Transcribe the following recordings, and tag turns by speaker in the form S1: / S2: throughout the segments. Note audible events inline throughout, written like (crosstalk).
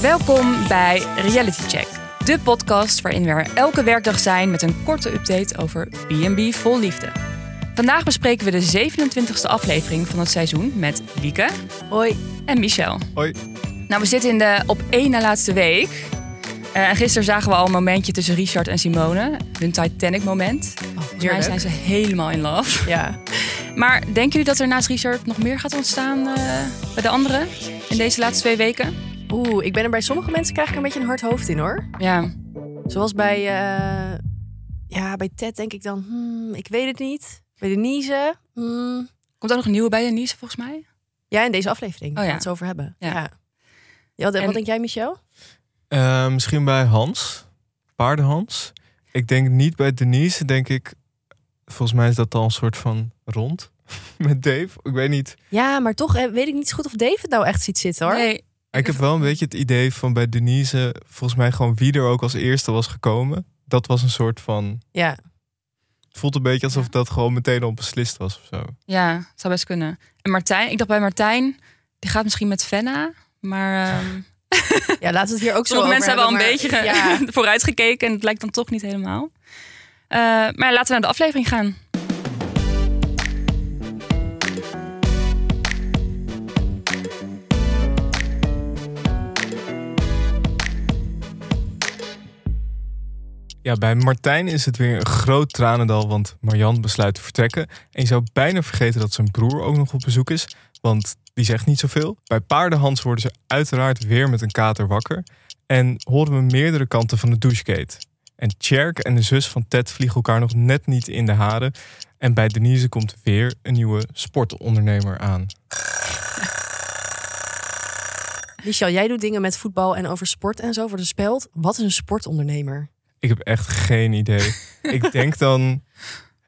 S1: Welkom bij Reality Check, de podcast waarin we er elke werkdag zijn met een korte update over B&B vol liefde. Vandaag bespreken we de 27e aflevering van het seizoen met Lieke. Hoi. En Michel.
S2: Hoi.
S1: Nou, we zitten in de op één na laatste week. Eh, En gisteren zagen we al een momentje tussen Richard en Simone. Hun Titanic moment. Volgens mij
S3: heerlijk.
S1: zijn ze helemaal in love.
S3: Ja.
S1: Maar denken jullie dat er naast Richard nog meer gaat ontstaan eh, bij de anderen in deze laatste twee weken?
S3: Oeh, ik ben er bij sommige mensen krijg ik een beetje een hard hoofd in hoor.
S1: Ja,
S3: Zoals bij, eh, ja, bij Ted denk ik dan, hmm, ik weet het niet. Bij Denise, hmm.
S1: Komt er nog een nieuwe bij, Denise, volgens mij?
S3: Ja, in deze aflevering.
S1: Oh ja.
S3: gaan we het zo over hebben.
S1: Ja.
S3: Ja. Ja, wat,
S1: En-
S3: wat denk jij, Michel?
S2: Eh, misschien bij Hans. Paardenhans. Ik denk niet bij Denise. Denk ik. Volgens mij is dat al een soort van rond. (laughs) Met Dave. Ik weet niet.
S3: Ja, maar toch eh, weet ik niet zo goed of David nou echt ziet zitten hoor.
S1: Nee,
S2: Ik heb wel een beetje het idee van bij Denise. Volgens mij gewoon wie er ook als eerste was gekomen. Dat was een soort van.
S3: Ja.
S2: Het voelt een beetje alsof dat gewoon meteen al beslist was of zo.
S1: ja, het zou best kunnen. En Martijn, ik dacht bij Martijn, die gaat misschien met Fenna. Maar ehm
S3: ja, laten we het hier ook zo
S1: sommige
S3: over
S1: mensen hebben al een beetje
S3: maar-
S1: ge- (laughs)
S3: Ja.
S1: vooruit gekeken en het lijkt dan toch niet helemaal. Eh, maar ja, laten we naar de aflevering gaan.
S2: Ja, bij Martijn is het weer een groot tranendal, want Marjan besluit te vertrekken. En je zou bijna vergeten dat zijn broer ook nog op bezoek is, want die zegt niet zoveel. Bij Paardenhans worden ze uiteraard weer met een kater wakker. En horen we meerdere kanten van de douchegate. En Cherk en de zus van Ted vliegen elkaar nog net niet in de haren. En bij Denise komt weer een nieuwe sportondernemer aan.
S3: Michel, jij doet dingen met voetbal en over sport en zo worden speld. Wat is een sportondernemer?
S2: Ik heb echt geen idee. ik denk dan...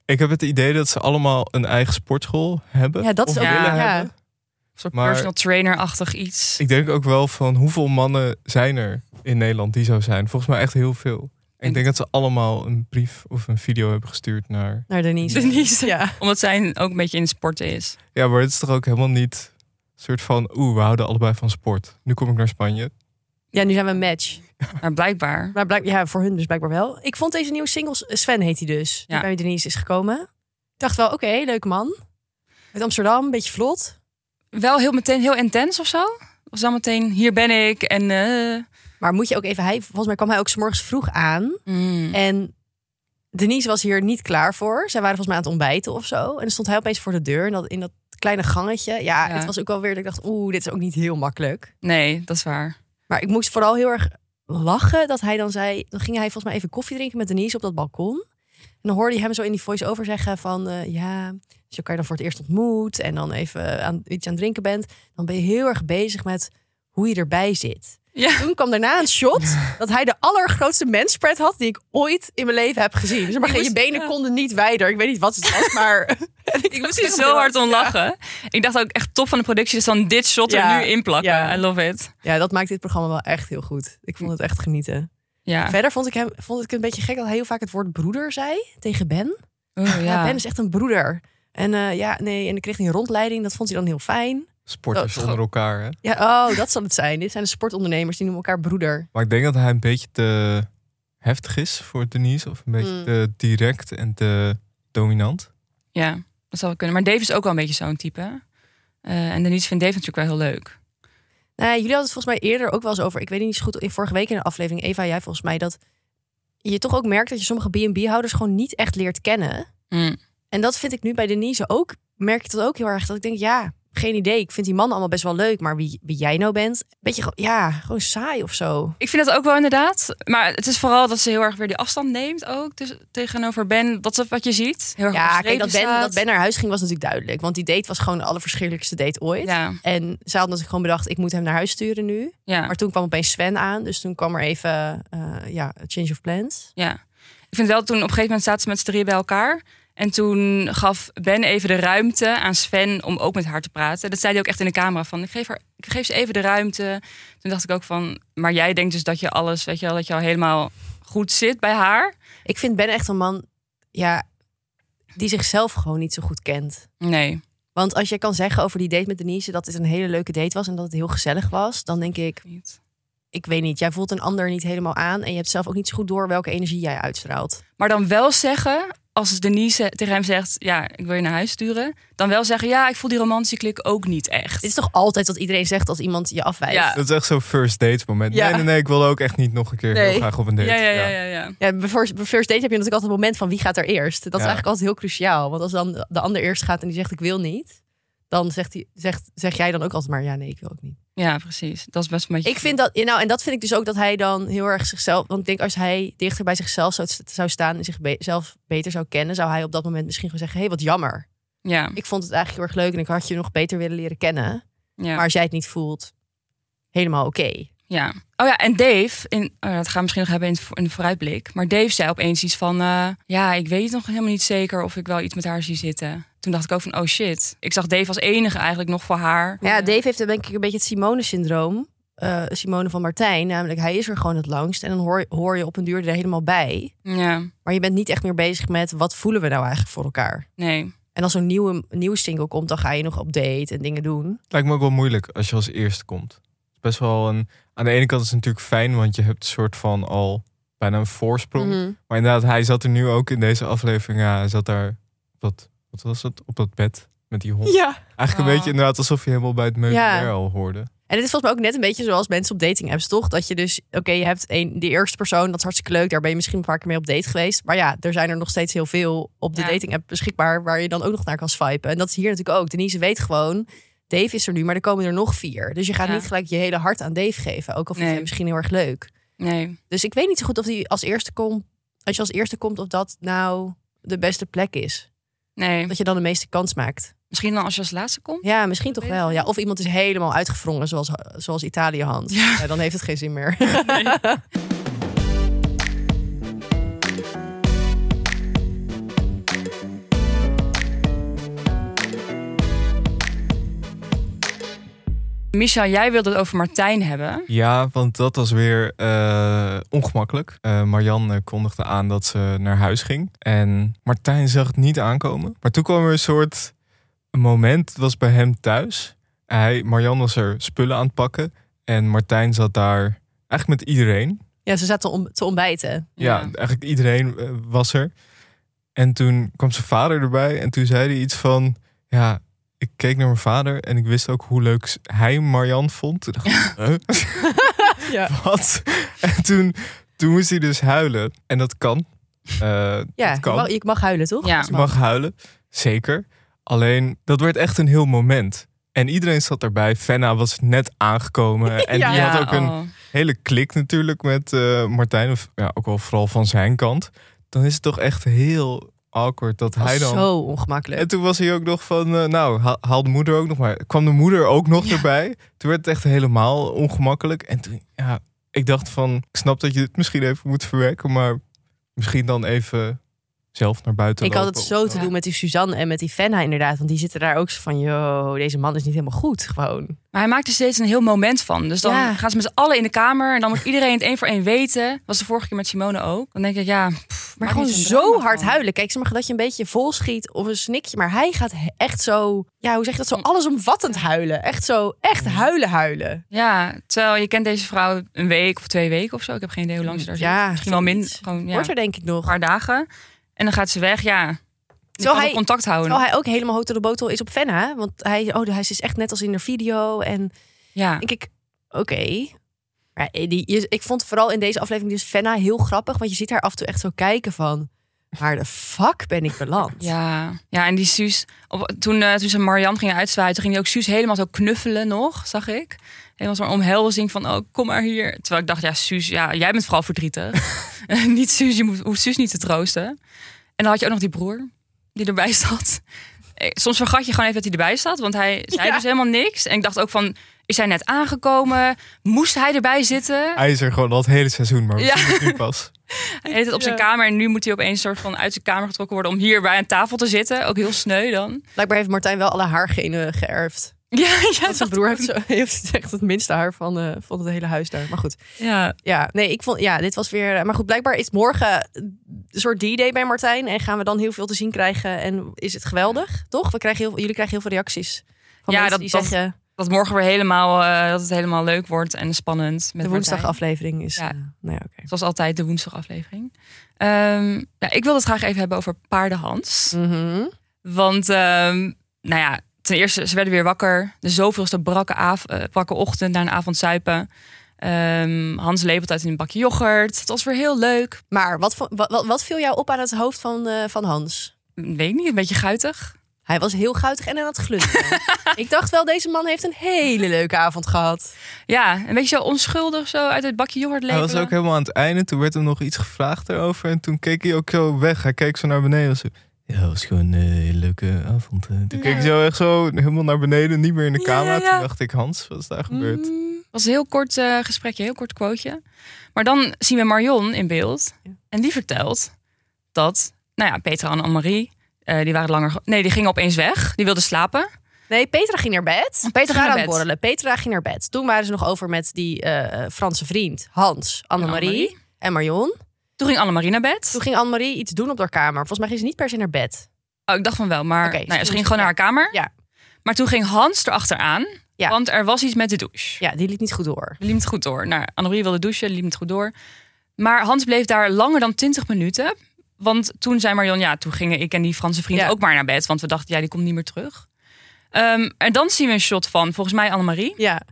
S2: Ik heb het idee dat ze allemaal een eigen sportschool hebben.
S3: Ja, dat is
S2: of
S3: ook
S1: Ja.
S2: willen
S3: ja.
S2: hebben.
S1: Een soort
S2: Maar-
S1: personal trainer-achtig iets.
S2: Ik denk ook wel van hoeveel mannen zijn er in Nederland die zo zijn. Volgens mij echt heel veel. En
S1: En-
S2: ik denk dat ze allemaal een brief of een video hebben gestuurd naar.
S3: Naar Denise.
S1: Denise.
S3: Ja.
S1: Omdat zij ook een beetje in sporten is.
S2: Ja, maar het is toch ook helemaal niet een soort van. Oeh, we houden allebei van sport. Nu kom ik naar Spanje.
S3: ja, nu zijn we een match.
S1: Maar blijkbaar.
S3: Maar blijk, ja, voor hun dus blijkbaar wel. Ik vond deze nieuwe singles, Sven heet hij dus,
S1: Ja.
S3: die bij Denise is gekomen. Ik dacht wel, oké, leuk man. Uit Amsterdam, een beetje vlot.
S1: Wel heel meteen heel intens of zo? Was dan meteen, hier ben ik en... eh,
S3: Maar moet je ook even, hij, volgens mij kwam hij ook 's morgens vroeg aan.
S1: mm.
S3: En Denise was hier niet klaar voor. Zij waren volgens mij aan het ontbijten of zo. En dan stond hij opeens voor de deur in dat, in dat kleine gangetje. Ja,
S1: Ja.
S3: het was ook wel weer dat ik dacht, oeh, dit is ook niet heel makkelijk.
S1: Nee, dat is waar.
S3: Maar ik moest vooral heel erg lachen dat hij dan zei... Dan ging hij volgens mij even koffie drinken met Denise op dat balkon. En dan hoorde je hem zo in die voice-over zeggen van... eh, ja, als je elkaar dan voor het eerst ontmoet... en dan even aan, iets aan het drinken bent... dan ben je heel erg bezig met hoe je erbij zit.
S1: Ja.
S3: Toen kwam daarna een shot dat hij de allergrootste manspread had... die ik ooit in mijn leven heb gezien. Dus maar
S1: Ik
S3: je
S1: moest-
S3: benen
S1: ja.
S3: konden niet wijder. Ik weet niet wat het was, maar...
S1: (laughs) Ik moest
S3: (laughs)
S1: hier zo hard om lachen. Ik dacht ook echt top van de productie. Dus dan dit shot
S3: Ja,
S1: er nu in plakken.
S3: ja.
S1: I love it.
S3: Ja, dat maakt dit programma wel echt heel goed. Ik vond het echt genieten.
S1: Ja.
S3: Verder vond ik, hem, vond ik het een beetje gek dat hij heel vaak het woord broeder zei tegen Ben.
S1: Oeh,
S3: Ja, Ben is echt een broeder. En eh, ja, nee, en dan kreeg hij een rondleiding. Dat vond hij dan heel fijn.
S1: Oh,
S3: Dat
S2: Sporters
S3: is
S2: onder elkaar. Hè?
S3: Ja, oh, dat zal het zijn. Dit zijn de sportondernemers, die noemen elkaar broeder.
S2: Maar ik denk dat hij een beetje te heftig is voor Denise. Of een beetje
S1: Hmm.
S3: Mm.
S2: te direct en te dominant.
S1: Ja, dat zou wel kunnen. Maar Dave is ook wel een beetje zo'n type. Eh, en Denise vindt Dave natuurlijk wel heel leuk.
S3: Nou, ja, jullie hadden het volgens mij eerder ook wel eens over. Ik weet niet zo goed, in vorige week in de aflevering, Eva, jij volgens mij, dat je toch ook merkt dat je sommige B&B-houders gewoon niet echt leert kennen.
S1: Mm.
S3: En dat vind ik nu bij Denise ook, merk ik dat ook heel erg. Dat ik denk, ja, geen idee. Ik vind die mannen allemaal best wel leuk, maar wie, wie jij nou bent, beetje, gewoon- ja, gewoon saai of zo.
S1: Ik vind dat ook wel inderdaad. Maar het is vooral dat ze heel erg weer die afstand neemt ook. Dus tegenover Ben, dat is wat je ziet. Heel erg op
S3: Ja,
S1: strepen
S3: kijk, dat ben,
S1: staat.
S3: dat ben naar huis ging was natuurlijk duidelijk. Want die date was gewoon de allerverschrikkelijkste date ooit.
S1: Ja,
S3: En ze had natuurlijk gewoon bedacht, ik moet hem naar huis sturen nu.
S1: ja,
S3: Maar toen kwam opeens Sven aan. Dus toen kwam er even, eh, ja, a change of plans.
S1: ja. Ik vind wel toen op een gegeven moment zaten ze met z'n drieën bij elkaar. En toen gaf Ben even de ruimte aan Sven om ook met haar te praten. Dat zei hij ook echt in de camera van, ik geef, haar, ik geef ze even de ruimte. Toen dacht ik ook van, maar jij denkt dus dat je alles, weet je wel, dat je al helemaal goed zit bij haar.
S3: Ik vind Ben echt een man ja, die zichzelf gewoon niet zo goed kent.
S1: Nee.
S3: Want als jij kan zeggen over die date met Denise dat het een hele leuke date was en dat het heel gezellig was, dan denk ik,
S1: Niet.
S3: ik weet niet, jij voelt een ander niet helemaal aan en je hebt zelf ook niet zo goed door welke energie jij uitstraalt.
S1: Maar dan wel zeggen, als Denise tegen hem zegt... ja, ik wil je naar huis sturen. Dan wel zeggen, ja, ik voel die romantische klik ook niet echt.
S3: Dit is toch altijd wat iedereen zegt als iemand je afwijst?
S1: Ja.
S2: Dat is echt zo'n first date moment.
S3: Ja.
S2: Nee, nee, nee, ik wil ook echt niet nog een keer
S3: Nee.
S2: heel graag op een date.
S1: ja, ja, ja, ja, ja.
S3: Ja, bij first, bij first date heb je natuurlijk altijd het moment van wie gaat er eerst. Dat is
S2: Ja.
S3: eigenlijk altijd heel cruciaal. Want als dan de ander eerst gaat en die zegt ik wil niet, dan zegt, die, zegt zeg jij dan ook altijd maar ja, nee, ik wil ook niet.
S1: Ja, precies. Dat is best een beetje...
S3: Ik vind dat, nou, en dat vind ik dus ook dat hij dan heel erg zichzelf, want ik denk als hij dichter bij zichzelf zou, zou staan en zichzelf beter zou kennen, zou hij op dat moment misschien gewoon zeggen, hé, hey, wat jammer.
S1: Ja,
S3: Ik vond het eigenlijk heel erg leuk en ik had je nog beter willen leren kennen.
S1: ja.
S3: Maar als jij het niet voelt, helemaal oké.
S1: Ja. Oh ja, en Dave, in, oh ja, dat gaan we misschien nog hebben in, het vo- in de vooruitblik. Maar Dave zei opeens iets van: eh, Ja, ik weet nog helemaal niet zeker of ik wel iets met haar zie zitten. Toen dacht ik ook van: Oh shit. Ik zag Dave als enige eigenlijk nog voor haar.
S3: Ja, Dave heeft dan denk ik een beetje het Simone-syndroom. Eh, Simone van Martijn, namelijk hij is er gewoon het langst. En dan hoor, hoor je op een duur er helemaal bij.
S1: Ja,
S3: Maar je bent niet echt meer bezig met wat voelen we nou eigenlijk voor elkaar.
S1: nee.
S3: En als zo'n nieuwe, nieuwe single komt, dan ga je nog op date en dingen doen.
S2: Lijkt me ook wel moeilijk als je als eerste komt. Best wel een. Aan de ene kant is het natuurlijk fijn, want je hebt een soort van al bijna een
S3: Mhm.
S2: voorsprong. Maar inderdaad, hij zat er nu ook in deze aflevering. Ja, hij zat daar op dat, wat was het? Op dat bed met die hond.
S3: Ja.
S2: Eigenlijk een
S1: Ah.
S2: beetje inderdaad alsof je helemaal bij het meubilair
S3: Ja.
S2: al hoorde.
S3: En het is volgens mij ook net een beetje zoals mensen op dating apps, toch? Dat je dus, oké, je hebt een, die eerste persoon, dat is hartstikke leuk. Daar ben je misschien een paar keer mee op date geweest. Maar ja, er zijn er nog steeds heel veel op de
S1: Ja.
S3: dating app beschikbaar... waar je dan ook nog naar kan swipen. En dat is hier natuurlijk ook. Denise weet gewoon, Dave is er nu, maar er komen er nog vier. Dus je gaat
S1: Ja.
S3: niet gelijk je hele hart aan Dave geven. Ook al vind je
S1: Nee.
S3: hem misschien heel erg leuk.
S1: Nee.
S3: Dus ik weet niet zo goed of die als eerste komt... als je als eerste komt, of dat nou de beste plek is.
S1: Nee.
S3: Dat je dan de meeste kans maakt.
S1: Misschien dan als je als laatste komt.
S3: Ja, misschien toch
S1: Weet ik
S3: wel. Ja,
S1: niet.
S3: of iemand is helemaal uitgevrongen, zoals, zoals Italië Hans.
S1: Ja.
S3: Ja, dan heeft het geen zin meer.
S1: Micha, jij wilde het over Martijn hebben.
S2: (laughs) Ja, want dat was weer eh, ongemakkelijk. Eh Marianne eh, kondigde aan dat ze naar huis ging. En Martijn zag het niet aankomen. Maar toen kwam er een soort moment, het was bij hem thuis. Hij, Marianne was er spullen aan het pakken. En Martijn zat daar eigenlijk met iedereen.
S3: Ja, ze zaten om, te ontbijten.
S2: Ja, eigenlijk iedereen eh, was er. En toen kwam zijn vader erbij en toen zei hij iets van... Ja, ik keek naar mijn vader en ik wist ook hoe leuk hij Marianne vond. Toen dacht ik, "Huh?
S3: Ja.
S2: (laughs) Wat? En toen, toen moest hij dus huilen. En dat kan. Eh,
S3: Ja,
S2: dat
S3: ik
S2: kan.
S3: mag, ik mag huilen, toch?
S1: Ja.
S3: Als
S2: Je mag huilen, zeker. Alleen, dat werd echt een heel moment. En iedereen zat erbij. Fenna was net
S3: (laughs)
S2: aangekomen. En
S3: Ja.
S2: die had ook een
S1: oh.
S2: hele klik natuurlijk met eh, Martijn. Of ja, ook wel vooral van zijn kant. Dan is het toch echt heel awkward dat
S3: Dat
S2: hij
S3: is
S2: dan...
S3: zo ongemakkelijk.
S2: En toen was hij ook nog van, eh, nou, ha- haal de moeder ook nog maar. Kwam de moeder ook nog erbij. Toen werd het echt helemaal ongemakkelijk. En toen, ja, ik dacht van, ik snap dat je dit misschien even moet verwerken, maar misschien dan even zelf naar buiten
S3: Ik had het
S2: lopen
S3: zo
S2: of
S3: te doen met die Suzanne en met die Fenna inderdaad. Want die zitten daar ook zo van, yo, deze man is niet helemaal goed gewoon.
S1: Maar hij maakt er steeds een heel moment van. Dus dan
S3: Ja.
S1: gaan ze met z'n allen in de kamer. En dan moet iedereen het één voor één weten. Was de vorige keer met Simone ook. Dan denk ik, ja. pff,
S3: Maar
S1: maak
S3: gewoon
S1: niet zo'n
S3: zo
S1: drama
S3: hard
S1: van.
S3: huilen. Kijk, zeg maar dat je een beetje vol schiet of een snikje. Maar hij gaat he- echt zo, ja, hoe zeg je dat, zo allesomvattend huilen. Echt zo, echt huilen huilen.
S1: Ja, terwijl je kent deze vrouw een week of twee weken of zo. Ik heb geen idee hoe lang ze daar zit.
S3: Ja,
S1: Misschien wel minder.
S3: zoiets.
S1: Gewoon ja,
S3: Wordt er
S1: een
S3: denk ik nog.
S1: paar dagen. En dan gaat ze weg. Ja, je kan
S3: Terwijl hij-
S1: wel contact houden.
S3: Terwijl hij ook helemaal hoog door de botel is op Fenna. Want hij, oh, hij is echt net als in de video. En
S1: ja.
S3: denk ik, oké. Maar eh, die, je- ik vond vooral in deze aflevering dus Fenna heel grappig. Want je ziet haar af en toe echt zo kijken van... Waar de fuck ben ik beland?
S1: Ja. ja, en die Suus. Op, toen, eh, toen ze Marianne gingen uitzwaaien, toen ging die ook Suus helemaal zo knuffelen nog, zag ik. Helemaal zo'n omhelzing van, oh, kom maar hier. Terwijl ik dacht, ja, Suus, ja, jij bent vooral verdrietig.
S3: (laughs)
S1: (laughs) niet Suus, je moet, hoeft Suus niet te troosten. En dan had je ook nog die broer die erbij (laughs) zat. Eh, Soms vergat je gewoon even dat hij erbij zat, want hij zei
S3: Ja.
S1: dus helemaal niks. En ik dacht ook van, is hij net aangekomen? Moest hij erbij zitten?
S2: Hij is er gewoon al het hele seizoen, maar
S1: Ja.
S2: misschien het nu pas.
S1: Hij deed het op zijn
S3: Ja.
S1: kamer en nu moet hij opeens soort van uit zijn kamer getrokken worden om hier bij een tafel te zitten. Ook heel sneu dan. (laughs)
S3: Blijkbaar heeft Martijn wel alle haargenen geërfd.
S1: Ja, (laughs) ja,
S3: Want zijn broer heeft, zo, (laughs) heeft echt het minste haar van, eh, van het hele huis daar. Maar goed,
S1: Ja,
S3: ja, nee, ik vond, ja, dit was weer. eh, Maar goed, blijkbaar is morgen een soort D-day bij Martijn. En gaan we dan heel veel te zien krijgen. En is het geweldig, toch? We krijgen heel, jullie krijgen heel veel reacties. Van
S1: Ja,
S3: mensen
S1: dat-
S3: die
S1: dat-
S3: zeggen.
S1: dat morgen weer helemaal, eh, dat het helemaal leuk wordt en spannend. Met
S3: de
S1: Martijn.
S3: woensdagaflevering is.
S1: Ja.
S3: eh, nou ja, oké.
S1: Zoals altijd de woensdagaflevering. Ehm nou, ik wil het graag even hebben over paardenhans.
S2: Mm.
S3: Mhm.
S1: Want, ehm, nou ja, ten eerste, ze werden weer wakker. De zoveelste brakke, av- eh, brakke ochtend na een avond zuipen. Ehm, Hans lepelt uit in een bakje yoghurt. Het was weer heel leuk.
S3: Maar wat, vo- wat, wat, wat viel jou op aan het hoofd van, eh, van Hans?
S1: Weet ik niet, een beetje guitig.
S3: Hij was heel guitig en aan het
S1: (laughs)
S3: glunderen. ik dacht wel, deze man heeft een hele leuke avond gehad.
S1: Ja, een beetje zo onschuldig zo uit het bakje yoghurt
S2: Hij
S1: lepelen.
S2: was ook helemaal aan het einde. Toen werd hem nog iets gevraagd erover. En toen keek hij ook zo weg. Hij keek zo naar beneden. Zo. Ja, het was gewoon een hele leuke avond. hè. Toen keek hij zo echt zo helemaal naar beneden. Niet meer in de
S1: Ja,
S2: camera.
S1: ja, ja.
S2: Toen dacht ik, Hans, wat is
S3: Mhm.
S2: daar gebeurd?
S1: Mm, was een heel kort eh, gesprekje, heel kort quoteje. Maar dan zien we Marion in beeld.
S3: Ja.
S1: En die vertelt dat, nou ja, Petra en Annemarie, eh die waren langer... ge- Nee, die gingen opeens weg. Die wilden slapen.
S3: Nee, Petra ging naar bed.
S1: Ah, Petra ging
S3: Ze waren
S1: naar
S3: aan het
S1: bed.
S3: borrelen. Petra ging naar bed. Toen waren ze nog over met die eh, Franse vriend, Hans, Annemarie
S1: Annemarie.
S3: en Marion.
S1: Toen ging Annemarie naar bed.
S3: Toen ging Annemarie iets doen op haar kamer. Volgens mij ging ze niet per se naar bed.
S1: Oh, ik dacht van wel, maar
S3: Oké,
S1: nou ja,
S3: dus
S1: ze
S3: toen
S1: ging gewoon naar
S3: moest-
S1: haar kamer.
S3: ja.
S1: Maar toen ging Hans erachteraan,
S3: Ja.
S1: want er was iets met de douche.
S3: Ja, die liet niet goed door.
S1: Die liep het goed door. Nou, Annemarie wilde douchen, die liep het goed door. Maar Hans bleef daar langer dan 20 minuten. Want toen zei Marion, ja, toen gingen ik en die Franse vriend
S3: Ja.
S1: ook maar naar bed. Want we dachten, ja, die komt niet meer terug. Ehm, en dan zien we een shot van, volgens mij, Annemarie.
S3: Ja,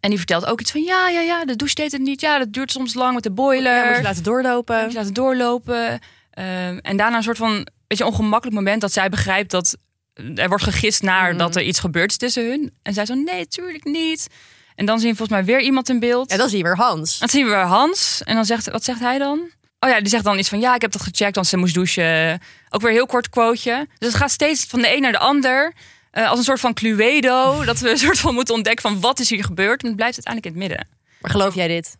S1: En die vertelt ook iets van, ja, ja, ja, de douche deed het niet. Ja, dat duurt soms lang met de
S3: ja moet
S1: boiler.
S3: je laten doorlopen.
S1: Moet je laten doorlopen. Ehm, en daarna een soort van beetje ongemakkelijk moment dat zij begrijpt dat er wordt gegist naar
S3: Mhm.
S1: dat er iets gebeurt is tussen hun. En zij zo, nee, tuurlijk niet. En dan zien we volgens mij weer iemand in beeld.
S3: En dan zie je weer Hans.
S1: Dan zien we Hans. En dan zegt, wat zegt hij dan? Oh ja, die zegt dan iets van, ja, ik heb dat gecheckt, want ze moest douchen. Ook weer een heel kort quoteje. Dus het gaat steeds van de een naar de ander. eh, als een soort van cluedo. dat we een soort van moeten ontdekken van, wat is hier gebeurd? En het blijft uiteindelijk in het midden.
S3: Maar geloof jij dit?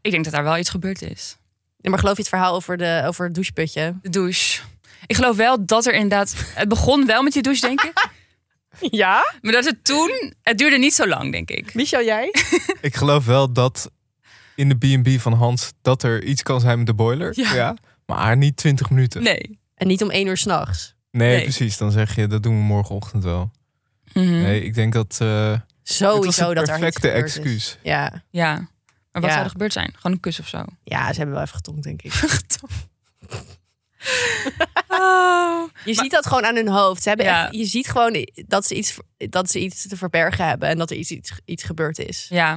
S1: Ik denk dat daar wel iets gebeurd is.
S3: Ja, maar geloof je het verhaal over, de, over het doucheputje?
S1: de douche. Ik geloof wel dat er inderdaad. Het begon wel met die douche, denk ik.
S3: Ja?
S1: Maar dat het toen. Het duurde niet zo lang, denk ik.
S3: Michel, jij?
S2: Ik geloof wel dat in de B&B van Hans... dat er iets kan zijn met de boiler.
S1: Ja.
S2: Ja. Maar niet 20 minuten. Nee,
S1: Nee.
S3: En niet om één uur s'nachts.
S2: nee,
S1: Nee.
S2: precies. Dan zeg je, dat doen we morgenochtend wel.
S1: Mhm.
S2: Nee, ik denk dat... eh, het was
S3: Sowieso
S2: het
S3: dat er niks
S2: perfecte
S3: gebeurd is.
S2: excuus.
S3: Ja.
S1: Ja. Maar wat
S3: Ja.
S1: zou er gebeurd zijn? Gewoon een kus of zo. (laughs)
S3: ja, ze hebben wel even getongd, denk ik.
S1: Oh.
S3: Je ziet dat gewoon aan hun hoofd. Ze hebben
S1: Ja.
S3: echt, je ziet gewoon dat ze, iets, dat ze iets te verbergen hebben en dat er iets, iets, iets gebeurd is.
S1: Ja.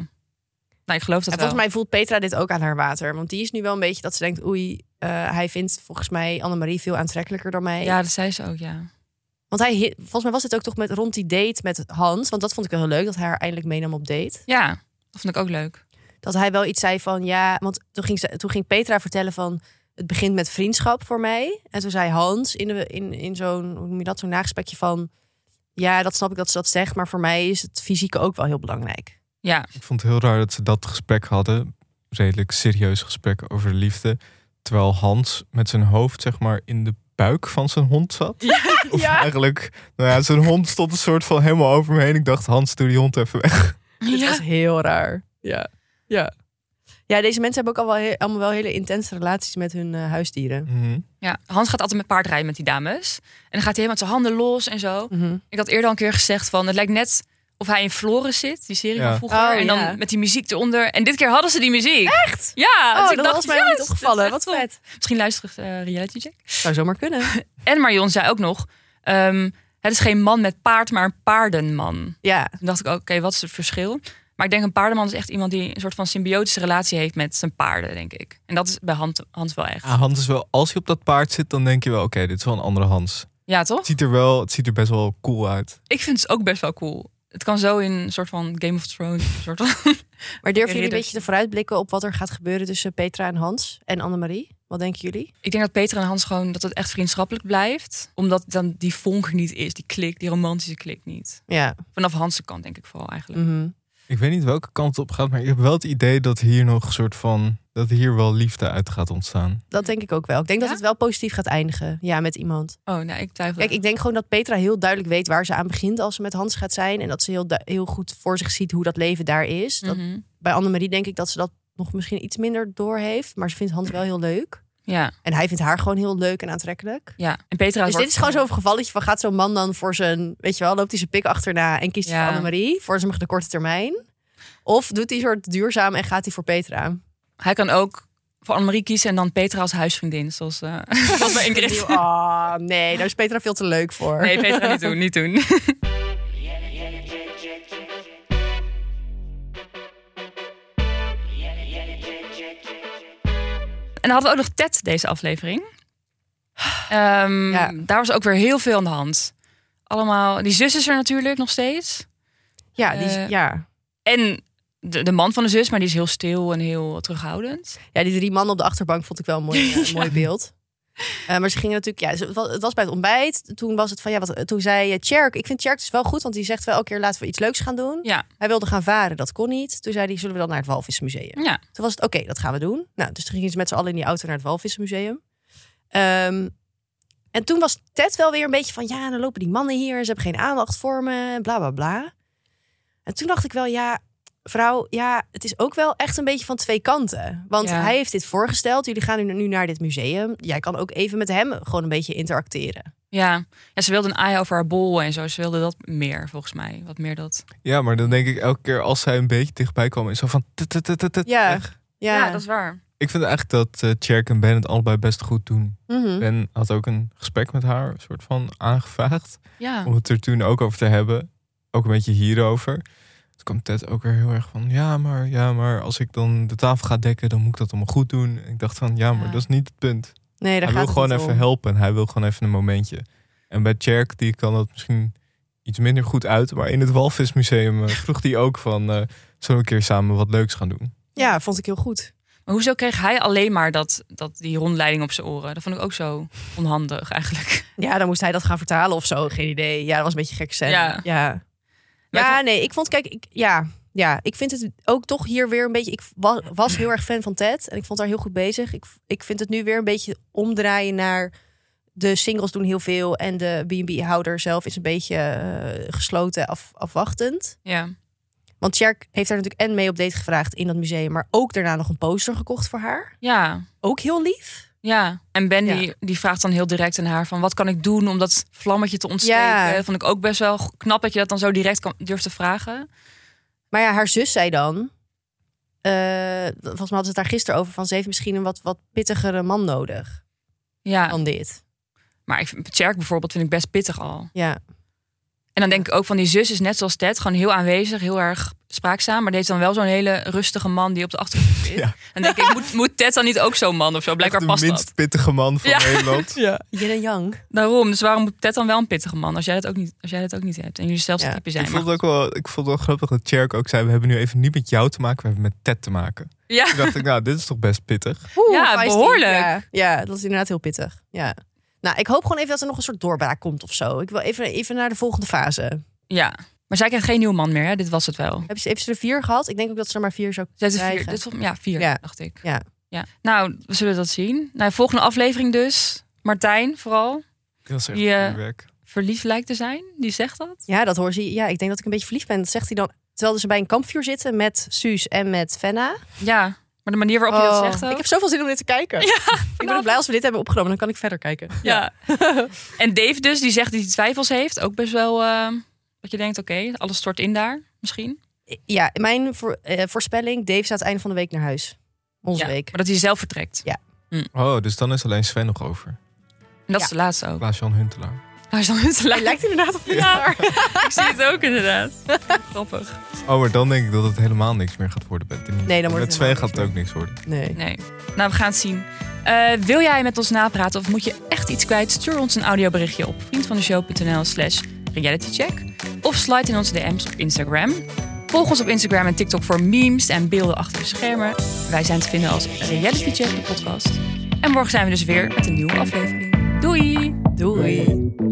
S1: Nou, ik geloof dat
S3: en
S1: wel.
S3: volgens mij voelt Petra dit ook aan haar water. Want die is nu wel een beetje dat ze denkt: oei, eh, hij vindt volgens mij Annemarie veel aantrekkelijker dan mij.
S1: Ja, dat zei ze ook, ja.
S3: Want hij, hi- volgens mij was het ook toch met, rond die date met Hans. Want dat vond ik wel heel leuk dat hij haar eindelijk meenam op date.
S1: Ja. Dat vond ik ook leuk.
S3: Dat hij wel iets zei van ja. Want toen ging, ze, toen ging Petra vertellen van. Het begint met vriendschap voor mij. En toen zei Hans in, de, in, in zo'n, hoe noem je dat, zo'n nagesprekje van. Ja, dat snap ik dat ze dat zegt, maar voor mij is het fysieke ook wel heel belangrijk.
S1: Ja.
S2: Ik vond het heel raar dat ze dat gesprek hadden. Redelijk serieus gesprek over liefde. Terwijl Hans met zijn hoofd zeg maar in de buik van zijn hond zat. Of eigenlijk, nou ja, zijn hond stond een soort van helemaal over me heen. Ik dacht, Hans, doe die hond even weg.
S3: Dit
S1: ja.
S3: was heel raar. Ja. ja. Ja, deze mensen hebben ook al wel he- allemaal wel hele intense relaties met hun eh, huisdieren.
S2: Mhm.
S1: Ja. Hans gaat altijd met paardrijden met die dames. En dan gaat hij helemaal met zijn handen los en zo.
S3: Mhm.
S1: Ik had eerder al een keer gezegd van het lijkt net of hij in Floris zit, die serie
S2: Ja.
S1: van vroeger.
S3: Oh,
S1: en dan
S3: ja.
S1: met die muziek eronder. En dit keer hadden ze die muziek.
S3: Echt?
S1: Ja,
S3: Oh,
S1: dus ik
S3: dat
S1: dacht,
S3: was mij nog niet
S1: yes, dit
S3: opgevallen. Wat
S1: is echt goed.
S3: vet.
S1: Misschien luistert eh Reality Check.
S3: Zou zomaar kunnen.
S1: En Marion zei ook nog, ehm, het is geen man met paard, maar een paardenman.
S3: Ja,
S1: Toen dacht ik, oké, wat is het verschil? Maar ik denk een paardenman is echt iemand die een soort van symbiotische relatie heeft met zijn paarden, denk ik. En dat is bij Hans, Hans wel echt.
S3: Ah.
S2: Ja, Hans is wel, als hij op dat paard zit, dan denk je wel, oké, dit is wel een andere Hans.
S1: Ja,
S2: Het
S1: toch?
S2: ziet er wel, het ziet er best wel cool uit.
S1: Ik vind het ook best wel cool. Het kan zo in een soort van Game of Thrones. Een soort van... (laughs)
S3: maar durven jullie een
S1: Ridders.
S3: beetje te vooruitblikken op wat er gaat gebeuren tussen Petra en Hans en Annemarie? Wat denken jullie?
S1: Ik denk dat Peter en Hans gewoon dat het echt vriendschappelijk blijft. Omdat dan die vonk er niet is, die klik, die romantische klik niet.
S3: Ja.
S1: Vanaf Hans' kant denk ik vooral eigenlijk.
S3: mhm.
S2: Ik weet niet welke kant het op gaat, maar ik heb wel het idee dat hier nog een soort van, dat dat hier wel liefde uit gaat ontstaan.
S3: Dat denk ik ook wel. Ik denk dat
S1: Ja?
S3: het wel positief gaat eindigen. Ja, met iemand.
S1: Oh, nou, ik twijfel.
S3: Mm. Kijk, ik denk gewoon dat Petra heel duidelijk weet waar ze aan begint als ze met Hans gaat zijn. En dat ze heel, du- heel goed voor zich ziet hoe dat leven daar is. Dat,
S1: Mhm.
S3: Bij Annemarie denk ik dat ze dat nog misschien iets minder doorheeft. Maar ze vindt Hans wel heel leuk.
S1: Ja,
S3: En hij vindt haar gewoon heel leuk en aantrekkelijk.
S1: ja. En Petra
S3: Dus dit
S1: wordt-
S3: is gewoon zo'n gevalletje van gaat zo'n man dan voor zijn, weet je wel, loopt hij zijn pik achterna en kiest hij
S1: Ja.
S3: voor Annemarie voor zijn de korte termijn? Of doet hij een soort duurzaam en gaat hij voor Petra?
S1: Hij kan ook voor Annemarie kiezen en dan Petra als huisvriendin. Zoals, eh (laughs) zoals
S3: (laughs)
S1: bij Ingrid.
S3: Ah, nee, daar is Petra veel te leuk voor.
S1: Nee, Petra, niet doen, niet doen. En dan hadden we ook nog Ted deze aflevering. Ehm,
S3: Ja.
S1: Daar was ook weer heel veel aan de hand. Allemaal, die zus is er natuurlijk nog steeds.
S3: Ja, die,
S1: Eh.
S3: ja.
S1: En de, de man van de zus, maar die is heel stil en heel terughoudend.
S3: ja, die drie mannen op de achterbank vond ik wel een mooi, eh, mooi beeld. Eh, maar ze gingen natuurlijk, ja, ze- het was- het was bij het ontbijt. Toen was het van, ja, wat, toen zei eh, Tjerk, ik vind Tjerk dus wel goed, want die zegt wel elke keer laten we iets leuks gaan doen.
S1: Ja.
S3: Hij wilde gaan varen, dat kon niet. Toen zei hij, zullen we dan naar het Walvismuseum?
S1: Ja,
S3: Toen was het oké, dat gaan we doen. Nou, dus toen gingen ze met z'n allen in die auto naar het Walvismuseum. Ehm, en toen was Ted wel weer een beetje van ja, dan lopen die mannen hier en ze hebben geen aandacht voor me, bla bla bla. En toen dacht ik wel, ja, vrouw, ja, het is ook wel echt een beetje van twee kanten. Want
S1: Ja.
S3: hij heeft dit voorgesteld, jullie gaan nu- nu naar dit museum. Jij kan ook even met hem gewoon een beetje interacteren.
S1: ja. ja, ze wilde een aai over haar bol en zo. Ze wilde dat meer, volgens mij. Wat meer dat.
S2: Ja, maar dan denk ik elke keer als zij een beetje dichtbij komen, is zo van. tut, tut, tut, tut, tut,
S3: Ja.
S2: weg.
S3: Ja,
S1: dat is waar.
S2: Ik vind eigenlijk dat eh Cherk en Ben het allebei best goed doen.
S1: Hm?
S3: Mhm.
S2: Ben had ook een gesprek met haar, soort van aangevraagd.
S1: Ja.
S2: Om het er toen ook over te hebben. Ook een beetje hierover. Toen kwam Ted ook weer heel erg van... Ja, maar, ja, maar als ik dan de tafel ga dekken... dan moet ik dat allemaal goed doen. En ik dacht van... Ja, maar
S1: Ja.
S2: dat is niet het punt.
S3: Nee, daar
S2: hij wil
S3: gaat het
S2: gewoon
S3: niet
S2: even
S3: om.
S2: helpen. Hij wil gewoon even een momentje. En bij Cherk, die kan dat misschien iets minder goed uit. Maar in het Walvismuseum eh, vroeg hij ook van... eh, zullen we een keer samen wat leuks gaan doen?
S3: Ja, vond ik heel goed.
S1: Maar hoezo kreeg hij alleen maar dat, dat, die rondleiding op zijn oren? Dat vond ik ook zo onhandig eigenlijk. (laughs)
S3: Ja, dan moest hij dat gaan vertalen of zo. Geen idee. Ja, dat was een beetje gek scène.
S1: Ja.
S3: Ja. Ja, nee, ik vond, kijk, ik, ja, ja, ik vind het ook toch hier weer een beetje... Ik was, was heel erg fan van Ted en ik vond haar heel goed bezig. Ik, ik vind het nu weer een beetje omdraaien naar... De singles doen heel veel en de B&B-houder zelf is een beetje eh, gesloten, af, afwachtend.
S1: Ja,
S3: Want Cherk heeft haar natuurlijk en mee op date gevraagd in dat museum... maar ook daarna nog een poster gekocht voor haar.
S1: ja,
S3: Ook heel lief.
S1: ja. En Ben
S3: Ja.
S1: Die, die vraagt dan heel direct aan haar van... wat kan ik doen om dat vlammetje te ontsteken?
S3: Ja.
S1: Dat vond ik ook best wel go- knap dat je dat dan zo direct kan, durft te vragen.
S3: Maar ja, haar zus zei dan. eh, volgens mij hadden ze het daar gisteren over. Van ze heeft misschien een wat, wat pittigere man nodig
S1: Ja,
S3: dan dit.
S1: maar ik, vind- Tjerk bijvoorbeeld vind ik best pittig al.
S3: Ja,
S1: En dan denk ik ook van die zus is net zoals Ted... gewoon heel aanwezig, heel erg spraakzaam... maar die heeft dan wel zo'n hele rustige man die op de achtergrond zit.
S2: (laughs) Ja.
S1: En denk ik, moet, moet Ted dan niet ook zo'n man of zo? Blijkbaar
S2: Echt
S1: past
S2: de minst
S1: dat.
S2: pittige man van
S1: Ja.
S2: Nederland.
S1: Ja.
S3: yin en yang.
S1: Daarom, dus waarom moet Ted dan wel een pittige man als jij dat ook niet, als jij dat ook niet hebt en jullie zelfs
S3: Ja,
S1: type
S2: Ik
S1: zijn?
S2: vond,
S1: Maar,
S2: het ook wel, ik vond het wel grappig dat Cherk ook zei... we hebben nu even niet met jou te maken, we hebben met Ted te maken.
S1: ja,
S2: Toen dacht ik, nou, dit is toch best pittig.
S3: Oeh,
S1: Ja,
S3: feisty.
S1: behoorlijk.
S3: Ja, ja, dat is inderdaad heel pittig. Ja. Nou, ik hoop gewoon even dat er nog een soort doorbraak komt of zo. Ik wil even, even naar de volgende fase.
S1: ja. Maar zij krijgt geen nieuwe man meer, hè? dit was het wel.
S3: Hebben ze, heeft ze er vier gehad? Ik denk ook dat ze er maar vier zou
S1: Zij heeft er
S3: krijgen.
S1: vier, dit vond- ja, vier,
S3: Ja.
S1: dacht ik.
S3: Ja.
S1: ja. Nou, we zullen dat zien. Nou, volgende aflevering dus. Martijn vooral,
S2: Dat is echt
S1: Die, eh,
S2: goede werk.
S1: verliefd lijkt te zijn, die zegt dat.
S3: Ja, dat hoor ze. Ja, ik denk dat ik een beetje verliefd ben. Dat zegt hij dan. Terwijl ze bij een kampvuur zitten met Suus en met Fenna.
S1: Ja, maar de manier waarop je dat
S3: Oh,
S1: zegt ook.
S3: Ik heb zoveel zin om dit te kijken. ik ben ook blij als we dit hebben opgenomen. Dan kan ik verder kijken. (laughs)
S1: ja. en Dave dus, die zegt dat hij twijfels heeft. Ook best wel eh, dat je denkt, oké, alles stort in daar, misschien.
S3: Ja, mijn voor- eh, voorspelling, Dave staat einde van de week naar huis. Onze
S1: Ja,
S3: week.
S1: Maar dat hij zelf vertrekt.
S2: Oh, dus dan is alleen Sven nog over.
S1: En dat
S3: Ja.
S1: is de laatste ook.
S2: Klaas-Jan Huntelaar.
S1: Hij is dan het
S3: Hij lijkt inderdaad (laughs) op
S1: Ja, ik zie het ook inderdaad. Grappig.
S2: Oh, maar dan denk ik dat het helemaal niks meer gaat worden. Bij Denise.
S3: Nee, dan wordt het
S2: Met Sven
S3: helemaal
S2: gaat het ook niks worden.
S3: Nee.
S1: Nee. Nou, we gaan het zien. Eh, wil jij met ons napraten of moet je echt iets kwijt? Stuur ons een audioberichtje op vriendvandeshow.nl slash realitycheck. Of slide in onze DM's op Instagram. Volg ons op Instagram en TikTok voor memes en beelden achter de schermen. Wij zijn te vinden als Reality Check, de podcast. En morgen zijn we dus weer met een nieuwe aflevering. Doei!
S3: Doei.